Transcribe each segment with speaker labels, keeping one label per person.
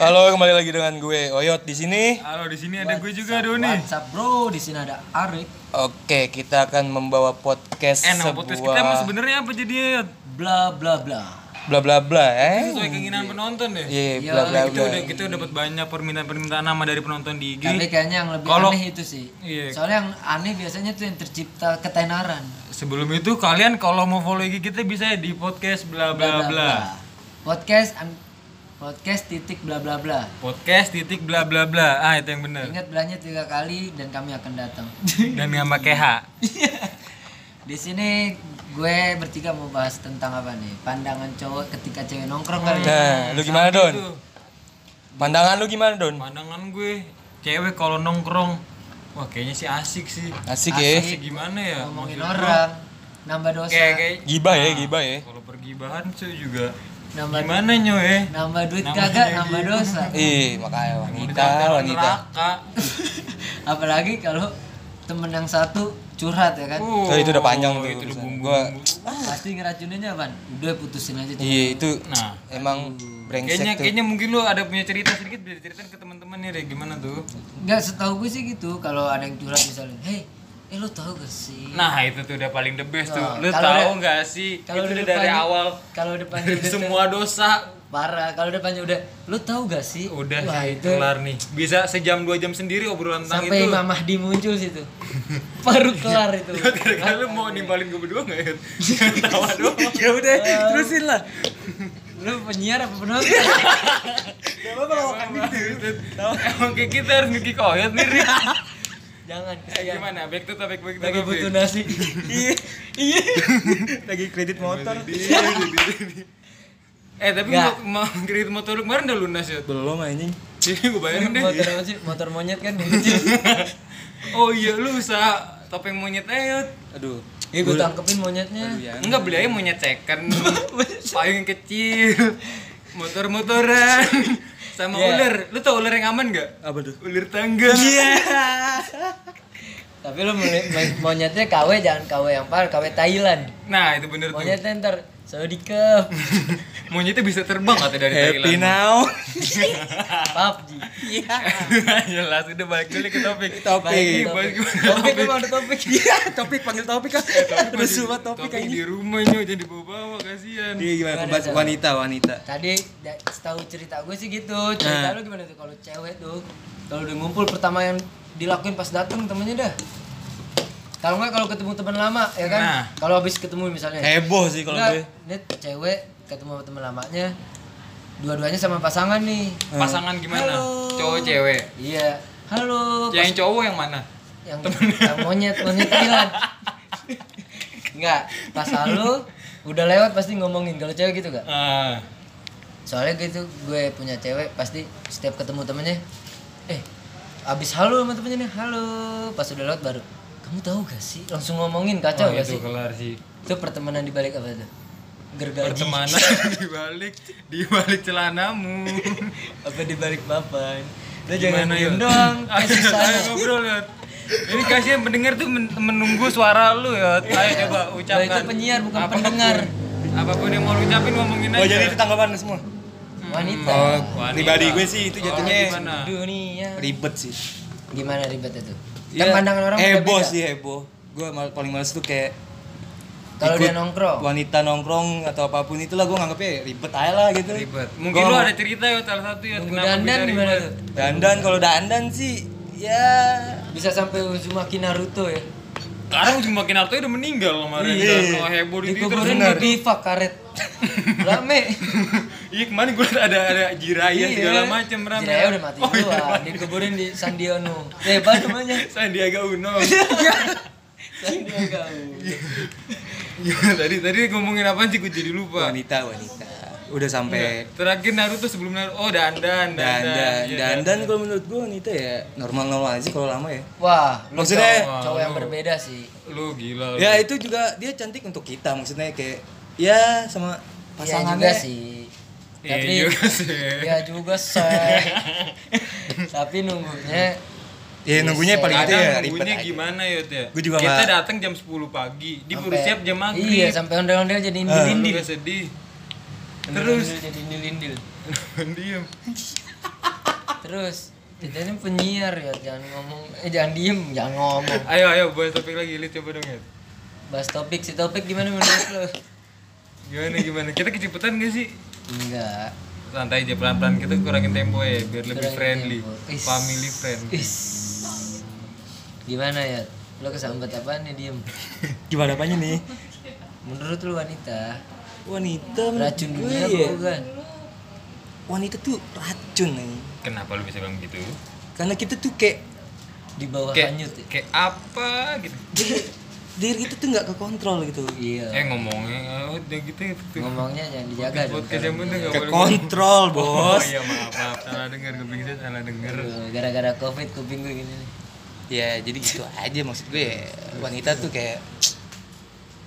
Speaker 1: Halo, kembali lagi dengan gue Oyot di sini.
Speaker 2: Halo di sini ada gue juga Doni.
Speaker 3: WhatsApp bro, di sini ada Arik,
Speaker 1: Oke, kita akan membawa podcast
Speaker 2: Eh nama
Speaker 1: sebuah
Speaker 2: podcast kita mah sebenarnya apa jadinya?
Speaker 3: bla bla bla.
Speaker 1: bla bla bla eh.
Speaker 2: Sesuai keinginan penonton deh.
Speaker 1: Iya, bla bla
Speaker 2: Kita
Speaker 1: bla.
Speaker 2: udah kita dapat banyak permintaan-permintaan nama dari penonton di IG.
Speaker 3: Tapi kayaknya yang lebih
Speaker 2: Kalau-
Speaker 3: aneh itu sih.
Speaker 2: Iya.
Speaker 3: Soalnya yang aneh biasanya tuh yang tercipta ketenaran.
Speaker 2: Sebelum itu kalian kalau mau follow IG kita bisa ya di podcast bla bla bla.
Speaker 3: Podcast an- podcast titik bla bla bla.
Speaker 2: Podcast titik bla bla bla. Ah itu yang bener.
Speaker 3: Ingat belanya tiga kali dan kami akan datang.
Speaker 2: Dan nggak pakai H.
Speaker 3: di sini gue bertiga mau bahas tentang apa nih? Pandangan cowok ketika cewek nongkrong kali.
Speaker 2: Iya.
Speaker 3: ya.
Speaker 1: Nah, lu gimana, Don?
Speaker 2: gitu.
Speaker 1: Pandangan lu gimana, Don?
Speaker 2: Pandangan gue cewek kalau nongkrong wah kayaknya sih asik sih.
Speaker 1: Asik ya.
Speaker 2: Asik gimana ya?
Speaker 3: Ngomongin
Speaker 2: Maksud-
Speaker 3: orang, nambah dosa,
Speaker 2: Kayak kayak
Speaker 1: Gibah
Speaker 2: Nah.
Speaker 1: ya, gibah ya.
Speaker 2: kalau pergi bahan cuy juga.
Speaker 3: nambah
Speaker 2: Gimana nyoy?
Speaker 3: nambah duit
Speaker 2: Nambah
Speaker 3: kagak,
Speaker 2: duit.
Speaker 3: nambah dosa.
Speaker 1: Ih, makanya wanita, wanita.
Speaker 2: Neraka.
Speaker 3: Apalagi kalau temen yang satu curhat ya kan.
Speaker 2: Uh,
Speaker 1: Oh, itu udah panjang tuh.
Speaker 2: Itu udah
Speaker 1: urusan.
Speaker 2: bumbu.
Speaker 1: Gua
Speaker 3: Pasti ngeracuninnya apaan? Udah putusin aja tuh.
Speaker 1: iya itu
Speaker 2: Nah.
Speaker 1: emang
Speaker 2: Kayaknya
Speaker 1: brengsek tuh.
Speaker 2: kayaknya mungkin lu ada punya cerita sedikit bisa diceritain ke teman-teman nih deh gimana tuh.
Speaker 3: Enggak setahu gue sih gitu kalau ada yang curhat misalnya, "Hei, eh lu tahu gak sih?"
Speaker 2: Nah, itu tuh udah paling the best tuh.
Speaker 3: Nah,
Speaker 2: Lu
Speaker 3: kalau
Speaker 2: tahu
Speaker 3: udah-
Speaker 2: nggak sih
Speaker 3: kalau
Speaker 2: itu
Speaker 3: udah
Speaker 2: udah dari
Speaker 3: depannya-
Speaker 2: awal
Speaker 3: Kalau depannya
Speaker 2: dari
Speaker 3: udah
Speaker 2: semua dosa
Speaker 3: parah, kalau depannya udah, "Lu tahu gak sih?"
Speaker 2: udah
Speaker 3: Wah,
Speaker 2: sih,
Speaker 3: itu
Speaker 2: kelar nih. Bisa sejam dua jam sendiri obrolan tentang
Speaker 3: sampai
Speaker 1: gitu.
Speaker 2: itu.
Speaker 3: Mamah Di muncul situ. Baru kelar
Speaker 1: Iya.
Speaker 3: itu.
Speaker 2: Kira-kira lu mau nimbalin gue berdua nggak ya? Tawa doang.
Speaker 1: Ya udah, terusin lah.
Speaker 3: lu penyiar apa penonton?
Speaker 2: Emang kayak kita harus ngeki koyot nih. Ri.
Speaker 3: Jangan.
Speaker 2: Eh, Gimana? Back to topic, back to
Speaker 3: Iya. Lagi
Speaker 2: topic.
Speaker 3: butuh nasi.
Speaker 1: Iya. Iya. Lagi kredit motor.
Speaker 2: Eh tapi
Speaker 3: Nggak.
Speaker 2: mau mau kredit motor lu kemarin udah lunas ya?
Speaker 1: Belum anjing.
Speaker 2: Jadi gue bayarin deh.
Speaker 3: motor apa sih? Motor monyet kan yang kecil.
Speaker 2: Oh iya lu usaha topeng monyet aja.
Speaker 1: Aduh.
Speaker 3: Ya gue tangkepin monyetnya.
Speaker 1: Aduh, ya.
Speaker 2: Enggak beli aja monyet second. Payung yang kecil. Motor-motoran. Sama
Speaker 3: Iya.
Speaker 2: ular. Lu tau ular yang aman gak?
Speaker 1: Apa tuh?
Speaker 2: Ular tangga. Iya.
Speaker 3: Tapi lu meli- mo- monyetnya KW jangan KW yang parah, KW Thailand.
Speaker 2: Nah itu bener tuh.
Speaker 3: Monyetnya ntar Saudi ke
Speaker 2: Monyetnya bisa terbang kata dari
Speaker 1: Happy
Speaker 2: Thailand.
Speaker 1: now.
Speaker 3: PUBG.
Speaker 1: Iya.
Speaker 2: Jelas udah Ya balik dulu ke topik.
Speaker 1: Topik.
Speaker 2: Iya, balik ke
Speaker 3: Topik emang ada topik.
Speaker 1: Iya, topik panggil topik kan. Terus semua topik
Speaker 2: topik
Speaker 1: kayak
Speaker 2: di rumahnya jadi bawa-bawa kasihan.
Speaker 1: Dia gimana? Pembahas wanita, wanita.
Speaker 3: Tadi da- setahu cerita gue sih gitu.
Speaker 1: Nah.
Speaker 3: Cerita lu gimana tuh kalau cewek tuh? Kalau udah ngumpul pertama yang dilakuin pas dateng temennya dah. Kalau nggak kalau ketemu teman lama ya kan?
Speaker 2: Nah.
Speaker 3: Kalau habis ketemu misalnya.
Speaker 1: Heboh sih kalau gue.
Speaker 3: Nggak, Ini cewek ketemu sama teman lamanya. Dua-duanya sama pasangan nih.
Speaker 2: Pasangan gimana?
Speaker 3: Halo.
Speaker 2: Cowok cewek.
Speaker 3: Iya. Halo.
Speaker 2: Yang cowok yang mana?
Speaker 3: yang, yang monyet monyet Thailand nggak pas lu udah lewat pasti ngomongin kalau cewek gitu gak
Speaker 2: Ah.
Speaker 3: soalnya gitu gue punya cewek pasti setiap ketemu temennya eh abis halo sama temennya nih halo pas udah lewat baru kamu tahu gak sih langsung
Speaker 1: Oh,
Speaker 3: ngomongin kacau
Speaker 2: Wah,
Speaker 3: gak
Speaker 1: gitu.
Speaker 2: itu
Speaker 3: Iya sih
Speaker 2: kelar sih.
Speaker 3: itu pertemanan di balik apa tuh gergaji
Speaker 2: Pertemanan di balik di balik celanamu.
Speaker 3: apa di balik papan lu jangan
Speaker 2: Gimana ya?
Speaker 3: diem doang kayak
Speaker 2: Ayo
Speaker 3: susah
Speaker 2: ayo ngobrol ya. Ini kasihan pendengar tuh men- menunggu suara lu ya. Ayo coba
Speaker 3: Lo
Speaker 2: ucapkan.
Speaker 3: Iya. Nah, itu penyiar bukan
Speaker 2: Apapun-
Speaker 3: pendengar
Speaker 2: Apapun yang mau lu ucapin ngomongin aja.
Speaker 1: Oh, jadi itu tanggapan semua.
Speaker 3: wanita
Speaker 1: Oh,
Speaker 2: Wanita.
Speaker 1: pribadi gue sih itu
Speaker 2: Orang
Speaker 1: jatuhnya
Speaker 2: gimana?
Speaker 3: dunia
Speaker 1: ribet sih.
Speaker 3: gimana ribet itu kan
Speaker 1: Iya,
Speaker 3: pandangan orang
Speaker 1: heboh
Speaker 3: beda-beda.
Speaker 1: sih heboh. Gue mal- paling males tuh kayak
Speaker 3: kalau
Speaker 1: ikut
Speaker 3: dia nongkrong
Speaker 1: wanita nongkrong atau apapun itulah gue nganggepnya ribet aja lah gitu.
Speaker 2: Ribet. Mungkin lu ada cerita ya salah satu ya
Speaker 3: Nunggu
Speaker 2: kenapa
Speaker 3: dandan
Speaker 2: bisa
Speaker 3: gimana
Speaker 2: ribet.
Speaker 3: tuh?
Speaker 1: Dandan kalau dandan sih ya
Speaker 3: Bisa sampai Uzumaki Naruto ya?
Speaker 2: Sekarang cuma Naruto udah meninggal kemarin.
Speaker 1: Iya.
Speaker 2: Kalau heboh di Twitter.
Speaker 3: Dikuburin di bivak karet. Rame.
Speaker 2: Iya kemarin gue ada ada jiraya Iya, segala ya. macam rame. Oh,
Speaker 3: Jiraiya Iya. udah mati
Speaker 2: iya.
Speaker 3: duluan. Dikuburin di Sandiono. Eh, apa namanya?
Speaker 2: Sandiaga Uno.
Speaker 3: Sandiaga Uno.
Speaker 2: Gimana tadi tadi ngomongin apa sih gue jadi lupa.
Speaker 1: wanita wanita. Udah sampai
Speaker 2: Terakhir Naruto sebelum Naruto. Oh, Iya. dandan, dandan.
Speaker 1: dandan.
Speaker 2: Iya,
Speaker 1: Dandan kalau menurut gue wanita ya normal-normal aja kalau lama ya.
Speaker 3: Wah, lu
Speaker 1: Maksudnya-
Speaker 3: cowok, cowok yang berbeda sih. Iya
Speaker 2: Lu gila. lu.
Speaker 1: Ya itu juga dia cantik untuk kita maksudnya kayak ya sama
Speaker 3: Iya
Speaker 1: pasangannya
Speaker 3: juga sih.
Speaker 2: Iya
Speaker 3: Tapi
Speaker 2: juga sih.
Speaker 1: gitu
Speaker 3: Iya juga sih. Tapi nunggunya
Speaker 1: Ya
Speaker 3: Iya
Speaker 1: nunggunya paling itu
Speaker 2: Kadang
Speaker 1: ya ribet
Speaker 2: nunggunya
Speaker 1: aja.
Speaker 3: gitu.
Speaker 2: gimana ya, Teh?
Speaker 1: Gua juga
Speaker 2: Kita
Speaker 1: nggak-
Speaker 2: datang jam 10 pagi, di baru
Speaker 3: sampai-
Speaker 2: siap jam
Speaker 3: Iya,
Speaker 2: maghrib.
Speaker 3: sampai ondel-ondel jadi
Speaker 2: Lu
Speaker 3: indil-indil.
Speaker 2: nggak sedih.
Speaker 3: Terus jadi indil-indil.
Speaker 2: Diem.
Speaker 3: Terus kita ini penyiar ya, jangan ngomong, eh jangan diem, jangan ngomong.
Speaker 2: Ayo ayo buat topik lagi lu coba dong ya.
Speaker 3: Bahas topik, si topik gimana menurut lo?
Speaker 2: Gimana gimana? Kita keciputan gak sih?
Speaker 3: Enggak.
Speaker 2: Santai aja pelan-pelan kita kurangin tempo ya biar lebih
Speaker 3: Kurangin
Speaker 2: friendly,
Speaker 3: tempo. Is.
Speaker 2: family friendly.
Speaker 3: Is. Gimana ya? Lo kesambat apaan nih diem?
Speaker 1: Gimana apanya nih?
Speaker 3: Menurut lo wanita,
Speaker 1: Wanita menurut
Speaker 3: racun
Speaker 1: gue
Speaker 3: dunia apa
Speaker 1: ya.
Speaker 3: bukan?
Speaker 1: Wanita tuh racun nih.
Speaker 2: Kenapa lu bisa bilang gitu?
Speaker 1: Karena kita tuh kayak
Speaker 3: Di bawah
Speaker 2: Kayak
Speaker 3: hanyut ya?
Speaker 2: kayak apa gitu?
Speaker 1: diri- diri kita tuh nggak kekontrol gitu.
Speaker 3: Iya.
Speaker 2: Eh ngomongnya oh, udah gitu ya. tuh.
Speaker 3: Ngomongnya jangan dijaga dong.
Speaker 2: Podcast yang bener nggak boleh.
Speaker 1: Kekontrol
Speaker 2: Oh
Speaker 1: bos.
Speaker 2: iya maaf maaf salah dengar kuping saya salah dengar.
Speaker 3: Aduh, Gara-gara covid kuping gue gini nih.
Speaker 1: Ya jadi gitu aja maksud gue. ya. Wanita tuh kayak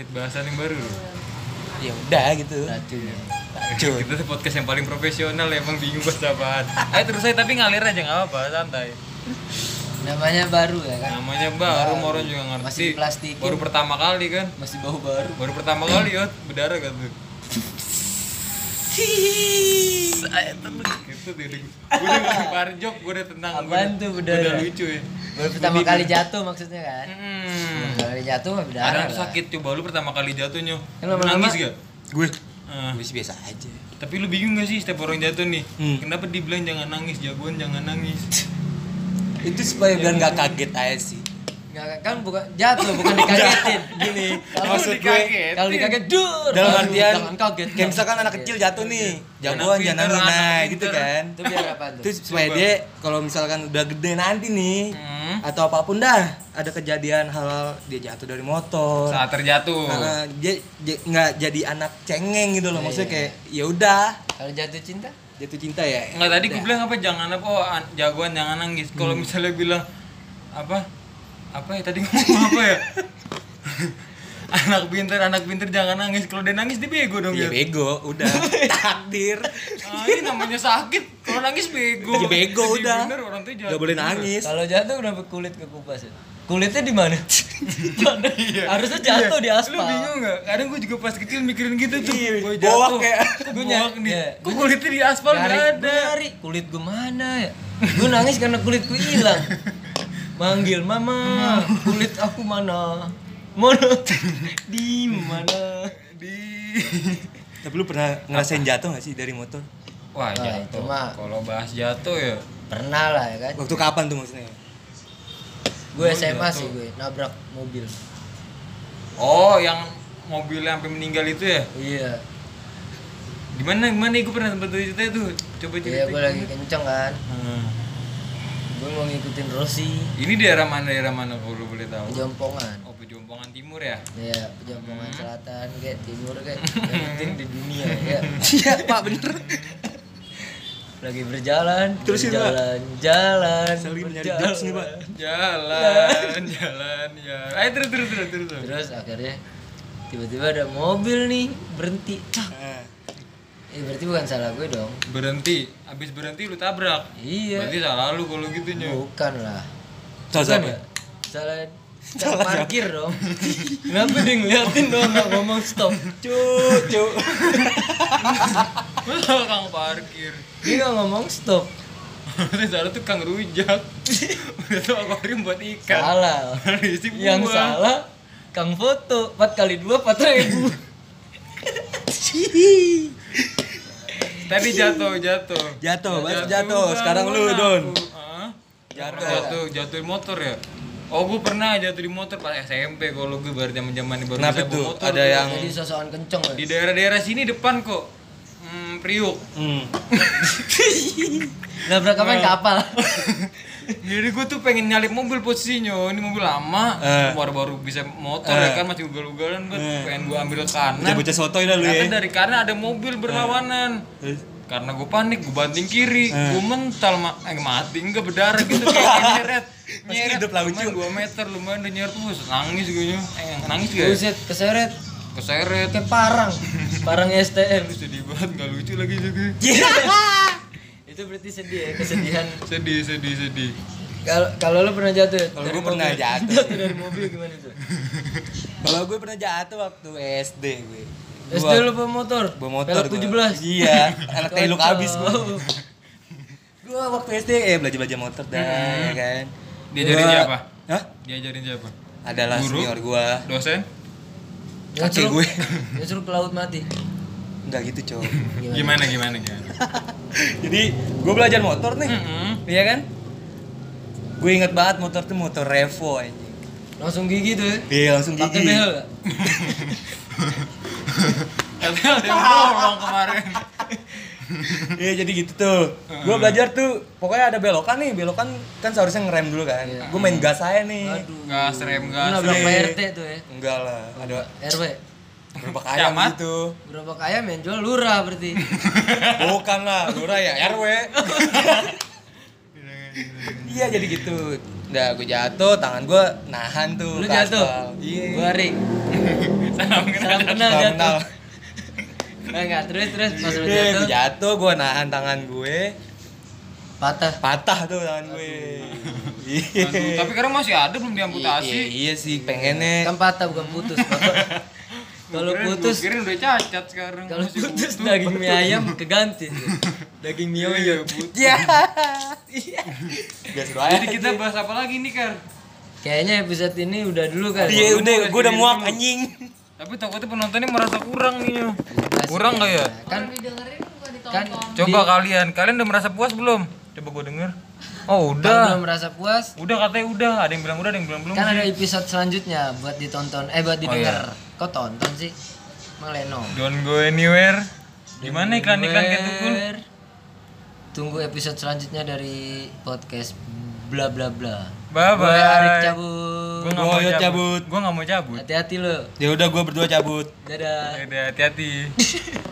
Speaker 2: Lihat bahasan yang baru. lu.
Speaker 1: ya udah gitu.
Speaker 3: Racun ya.
Speaker 1: Racun.
Speaker 2: Kita tuh podcast yang paling profesional emang bingung bahasa apaan. Ayo terus saya tapi ngalir aja nggak apa santai.
Speaker 3: Namanya baru ya kan?
Speaker 2: Namanya baru Moron juga ngerti.
Speaker 3: Masih diplastikin.
Speaker 2: Baru pertama kali kan.
Speaker 3: Masih bau baru.
Speaker 2: Baru pertama kali ya berdarah kan tuh. Gitu diri. Gue udah ngelempar jok, gue udah tenang. gua
Speaker 3: Apaan
Speaker 2: udah-
Speaker 3: tuh
Speaker 2: gua
Speaker 3: berdarah?
Speaker 2: Udah lucu ya.
Speaker 3: Baru pertama kali jatuh maksudnya kan?
Speaker 2: Hmm.
Speaker 3: Pertama kali jatuh mah berdarah
Speaker 2: Kadang tuh
Speaker 3: lah.
Speaker 2: sakit coba lu pertama kali jatuhnya.
Speaker 3: Kan
Speaker 2: Lu
Speaker 3: lama-lama-
Speaker 2: nangis gak?
Speaker 1: Gue
Speaker 2: Ah.
Speaker 1: gue sih biasa aja.
Speaker 2: Tapi lu bingung gak sih setiap orang jatuh nih?
Speaker 1: Hmm.
Speaker 2: Kenapa dibilang jangan nangis, jagoan jangan nangis?
Speaker 1: Itu supaya biar nggak kaget aja sih.
Speaker 3: Nggak, kan bukan jatuh bukan dikagetin.
Speaker 1: Gini
Speaker 2: Kalau
Speaker 1: maksud gue.
Speaker 2: dikagetin.
Speaker 3: Kalau dikaget dur.
Speaker 1: Dalam
Speaker 3: Aduh,
Speaker 1: artian
Speaker 3: jangan kaget. Iya,
Speaker 1: kayak misalkan anak
Speaker 3: kaget.
Speaker 1: kecil jatuh nih,
Speaker 2: Anak
Speaker 1: jagoan
Speaker 2: pinter,
Speaker 1: jangan nangis
Speaker 2: anak
Speaker 1: nah,
Speaker 2: pinter.
Speaker 1: gitu kan.
Speaker 3: itu biar apa tuh?
Speaker 1: Itu supaya dia kalau misalkan udah gede nanti nih
Speaker 2: Hmm.
Speaker 1: atau apapun dah ada kejadian hal-hal dia jatuh dari motor.
Speaker 2: Saat terjatuh.
Speaker 1: Nah, dia dia nggak jadi anak cengeng gitu loh maksudnya
Speaker 3: Iya. Hmm,
Speaker 1: kayak ya udah
Speaker 3: Kalau jatuh cinta?
Speaker 1: jatuh cinta ya
Speaker 2: Enggak tadi gue bilang apa jangan apa oh, an- jagoan jangan nangis. Kalau
Speaker 1: Hmm.
Speaker 2: misalnya bilang apa apa ya tadi ngomong apa ya? anak pinter anak pinter jangan nangis. Kalau dia nangis dia bego dong
Speaker 1: ya
Speaker 2: ya.
Speaker 1: bego udah takdir
Speaker 2: Ah, ini namanya sakit. Kalau nangis bego.
Speaker 1: ya bego
Speaker 2: Jadi
Speaker 1: udah
Speaker 2: Bener orang tuh
Speaker 1: nggak boleh nangis
Speaker 3: Kalau jatuh kenapa kulit kekupas ya? Kulitnya di mana? Mana? Harusnya jatuh
Speaker 1: ya,
Speaker 3: di
Speaker 2: Iya. Lu
Speaker 3: aspal.
Speaker 2: bingung gak? Kadang gue juga pas kecil mikirin gitu tuh. Gue
Speaker 1: bawah Iya, kayak
Speaker 2: Gue
Speaker 3: Iya.
Speaker 2: nyari nih.
Speaker 3: Iya.
Speaker 2: Kok kulitnya di aspal
Speaker 3: Nyari,
Speaker 2: nggak
Speaker 3: gua
Speaker 2: ada.
Speaker 3: nyari. kulit gue mana ya? Gue nangis karena kulit gue hilang. Manggil mama, kulit aku mana? Mana? Di mana?
Speaker 2: Di
Speaker 1: tapi lu pernah ngerasain jatuh gak sih dari motor
Speaker 2: Wah,
Speaker 3: Nah, itu
Speaker 2: jatuh.
Speaker 3: mah.
Speaker 2: Kalau bahas jatuh ya.
Speaker 3: Pernah lah ya kan?
Speaker 1: waktu kapan tuh maksudnya
Speaker 3: Gue SMA sih gue nabrak mobil.
Speaker 2: Oh, yang mobilnya sampai meninggal itu ya?
Speaker 3: Iya.
Speaker 2: Gimana gimana gue pernah sempat cerita itu. Coba
Speaker 3: Iya
Speaker 2: cerita.
Speaker 3: gue lagi kenceng kan.
Speaker 2: Hmm.
Speaker 3: Gue mau ngikutin Rossi
Speaker 2: Ini daerah mana daerah mana kalau lu boleh tahu?
Speaker 3: pejompongan.
Speaker 2: Oh, Pejompongan Timur ya?
Speaker 3: Iya, pejompongan
Speaker 1: Hmm.
Speaker 3: selatan kayak timur kayak yang penting di dunia ya.
Speaker 1: iya pak bener
Speaker 3: Lagi berjalan,
Speaker 1: Terusin, Pak.
Speaker 3: berjalan, jalan,
Speaker 1: Saya lagi nyari
Speaker 3: berjalan.
Speaker 1: jokes nih, Pak.
Speaker 2: Jalan, jalan ya. Ayo terus terus terus terus. terus.
Speaker 3: Terus akhirnya tiba-tiba ada mobil nih berhenti. Cak.
Speaker 1: Ah,
Speaker 3: Eh berarti bukan salah gue dong.
Speaker 2: Berhenti, habis berhenti lu tabrak.
Speaker 3: Iya.
Speaker 2: Berarti salah lu kalau gitu nyu.
Speaker 3: Bukan lah.
Speaker 1: salah
Speaker 3: Bukan
Speaker 1: siapa?
Speaker 3: ya? Salah Salah parkir dong. Kenapa dia ngeliatin doang nggak ngomong stop?
Speaker 1: cucu
Speaker 2: Kang parkir.
Speaker 3: Dia nggak ngomong stop.
Speaker 2: Berarti salah tuh Kang rujak. Udah tau akuarium buat
Speaker 1: Kan?
Speaker 2: ikan.
Speaker 3: Salah.
Speaker 2: Malah diisi
Speaker 3: Yang
Speaker 2: buah.
Speaker 3: salah Kang foto 4 kali 2 4000.
Speaker 2: Tadi jatuh, jatuh.
Speaker 1: Jatuh, Mas, jatuh. Sekarang lu, Don.
Speaker 2: Jatuh. Jatuh, jatuh di motor ya. Oh, gue pernah jatuh di motor pas SMP kalau gue baru zaman-zaman baru
Speaker 1: Kenapa
Speaker 2: bisa bawa
Speaker 1: tuh?
Speaker 2: motor.
Speaker 1: Ada yang
Speaker 3: Jadi sosokan kenceng
Speaker 2: Di
Speaker 3: ya.
Speaker 2: daerah-daerah sini depan kok. Hmm, Priuk.
Speaker 1: hmm.
Speaker 3: Nabrak apa kapal.
Speaker 2: Jadi gue tuh pengen nyalip mobil posisinya. Ini mobil lama,
Speaker 1: Eh.
Speaker 2: baru-baru bisa motor ya kan masih ugal-ugalan kan. Pengen gue ambil
Speaker 1: bocah
Speaker 2: kanan.
Speaker 1: bocah sotoy lah lu ya Eh.
Speaker 2: Ternyata dari kanan ada mobil berlawanan.
Speaker 1: Terus,
Speaker 2: karena gue panik gue banting kiri gue mental ma eh, mati enggak berdarah gitu kayak nyeret nyeret
Speaker 1: hidup lah,
Speaker 2: lumayan dua meter lumayan udah nyeret terus nangis gue nyu eh, nangis gak ya?
Speaker 3: Buset keseret
Speaker 2: keseret
Speaker 3: kayak parang. Parang STM.
Speaker 2: Aduh, sedih banget nggak lucu lagi juga
Speaker 1: Iya.
Speaker 3: Itu berarti sedih ya, kesedihan.
Speaker 2: sedih sedih sedih
Speaker 3: Kalau kalau lo pernah jatuh ya?
Speaker 1: Kalau
Speaker 3: Dari
Speaker 1: gue pernah
Speaker 3: mobil.
Speaker 1: jatuh.
Speaker 3: Jatuh dari mobil gimana tuh?
Speaker 1: kalau gue pernah jatuh waktu SD gue
Speaker 3: SD
Speaker 1: Gua-
Speaker 3: lo bawa motor.
Speaker 1: bawa motor
Speaker 3: Pelek
Speaker 1: gua.
Speaker 3: 17.
Speaker 1: iya anak teluk abis gue
Speaker 3: Kocok.
Speaker 1: gua waktu SD ya belajar belajar motor dah ya kan
Speaker 2: Diajarin
Speaker 1: Gua-
Speaker 2: Hmm. siapa?
Speaker 1: Hah?
Speaker 2: Diajarin siapa?
Speaker 1: adalah
Speaker 2: Guru?
Speaker 1: senior gua
Speaker 2: Dosen?
Speaker 1: Kaki
Speaker 3: Nyuruh-
Speaker 1: gue.
Speaker 3: nyuruh ke laut mati.
Speaker 1: nggak gitu cowok
Speaker 2: Gimana gimana gimana?
Speaker 1: jadi gua belajar motor nih
Speaker 2: Mm-mm.
Speaker 1: iya kan gue inget banget motor tuh motor Revo anjing
Speaker 3: Langsung gigi tuh. ya.
Speaker 1: dia Iya, langsung
Speaker 3: Pakai
Speaker 1: gigi
Speaker 3: behel. nggak?
Speaker 2: Katanya ada yang bolong kemarin.
Speaker 1: Iya jadi gitu tuh. Gue belajar tuh pokoknya ada belokan nih, belokan kan seharusnya ngerem dulu kan. Gue main gas aja nih.
Speaker 3: Iya. Aduh.
Speaker 2: Gas rem
Speaker 3: Lu
Speaker 2: gas.
Speaker 1: Iya.
Speaker 3: nabrak
Speaker 1: Asli.
Speaker 3: Pak RT tuh ya.
Speaker 1: Enggak lah, ada
Speaker 3: RW.
Speaker 1: berapa ayam
Speaker 2: Kiamat.
Speaker 1: gitu.
Speaker 3: Berapa kaya yang jual lurah berarti.
Speaker 1: Bukan lah, Lura ya RW. Iya jadi gitu. Udah gue jatuh, tangan gue nahan tuh.
Speaker 3: Lu
Speaker 1: ke
Speaker 3: jatuh.
Speaker 1: aspal. Iya.
Speaker 3: Baring.
Speaker 2: Salam
Speaker 3: Salam
Speaker 2: kenal.
Speaker 3: kenal
Speaker 1: Salam kenal.
Speaker 3: jatuh. Nah, enggak terus terus pas lu
Speaker 1: Iya, gue
Speaker 3: jatuh
Speaker 1: jatuh, gue nahan tangan gue,
Speaker 3: patah.
Speaker 1: patah tuh tangan gue. Iya.
Speaker 2: Aduh, tapi sekarang masih ada belum
Speaker 1: Iya,
Speaker 2: diamputasi.
Speaker 1: Iya sih pengennya.
Speaker 3: Kan patah bukan putus, Bapak. Kalau
Speaker 2: Gua kirain-
Speaker 3: putus,
Speaker 2: gua kirain udah cacat sekarang.
Speaker 3: kalau
Speaker 2: Masih
Speaker 3: putus
Speaker 2: utuh.
Speaker 3: daging mie ayam keganti. tuh. Daging mie
Speaker 2: Iya,
Speaker 3: ayam.
Speaker 2: putus.
Speaker 1: Iya. Biasa doang.
Speaker 2: Jadi kita bahas apa lagi nih, Kar?
Speaker 3: Kayaknya episode ini udah dulu kan.
Speaker 1: Iya udah, gue udah muak anjing.
Speaker 2: Tapi takutnya penontonnya merasa kurang nih. Nyo.
Speaker 3: Iya,
Speaker 2: Kurang nggak ya?
Speaker 3: Kan
Speaker 4: didengerin bukan ditonton
Speaker 3: kan
Speaker 2: Coba kalian, kalian udah merasa puas belum? Coba gue denger. Oh
Speaker 3: udah
Speaker 2: udah,
Speaker 3: merasa puas,
Speaker 2: udah katanya udah. Ada yang bilang udah, ada yang bilang belum.
Speaker 3: kan ada episode selanjutnya buat ditonton eh buat
Speaker 2: Oh, iya.
Speaker 3: didengar kok tonton sih meleno
Speaker 2: Don't go anywhere. Gimana iklan iklan kayak tukul?
Speaker 3: Ber- tunggu episode selanjutnya dari podcast bla bla bla
Speaker 2: Bye
Speaker 3: gue Arik
Speaker 2: bye.
Speaker 3: cabut
Speaker 2: Gue nggak mau
Speaker 1: Gua
Speaker 2: cabut.
Speaker 1: cabut.
Speaker 2: Gue nggak mau cabut.
Speaker 3: hati-hati lo
Speaker 1: Ya udah gue berdua cabut.
Speaker 3: dadah
Speaker 2: Udah hati-hati.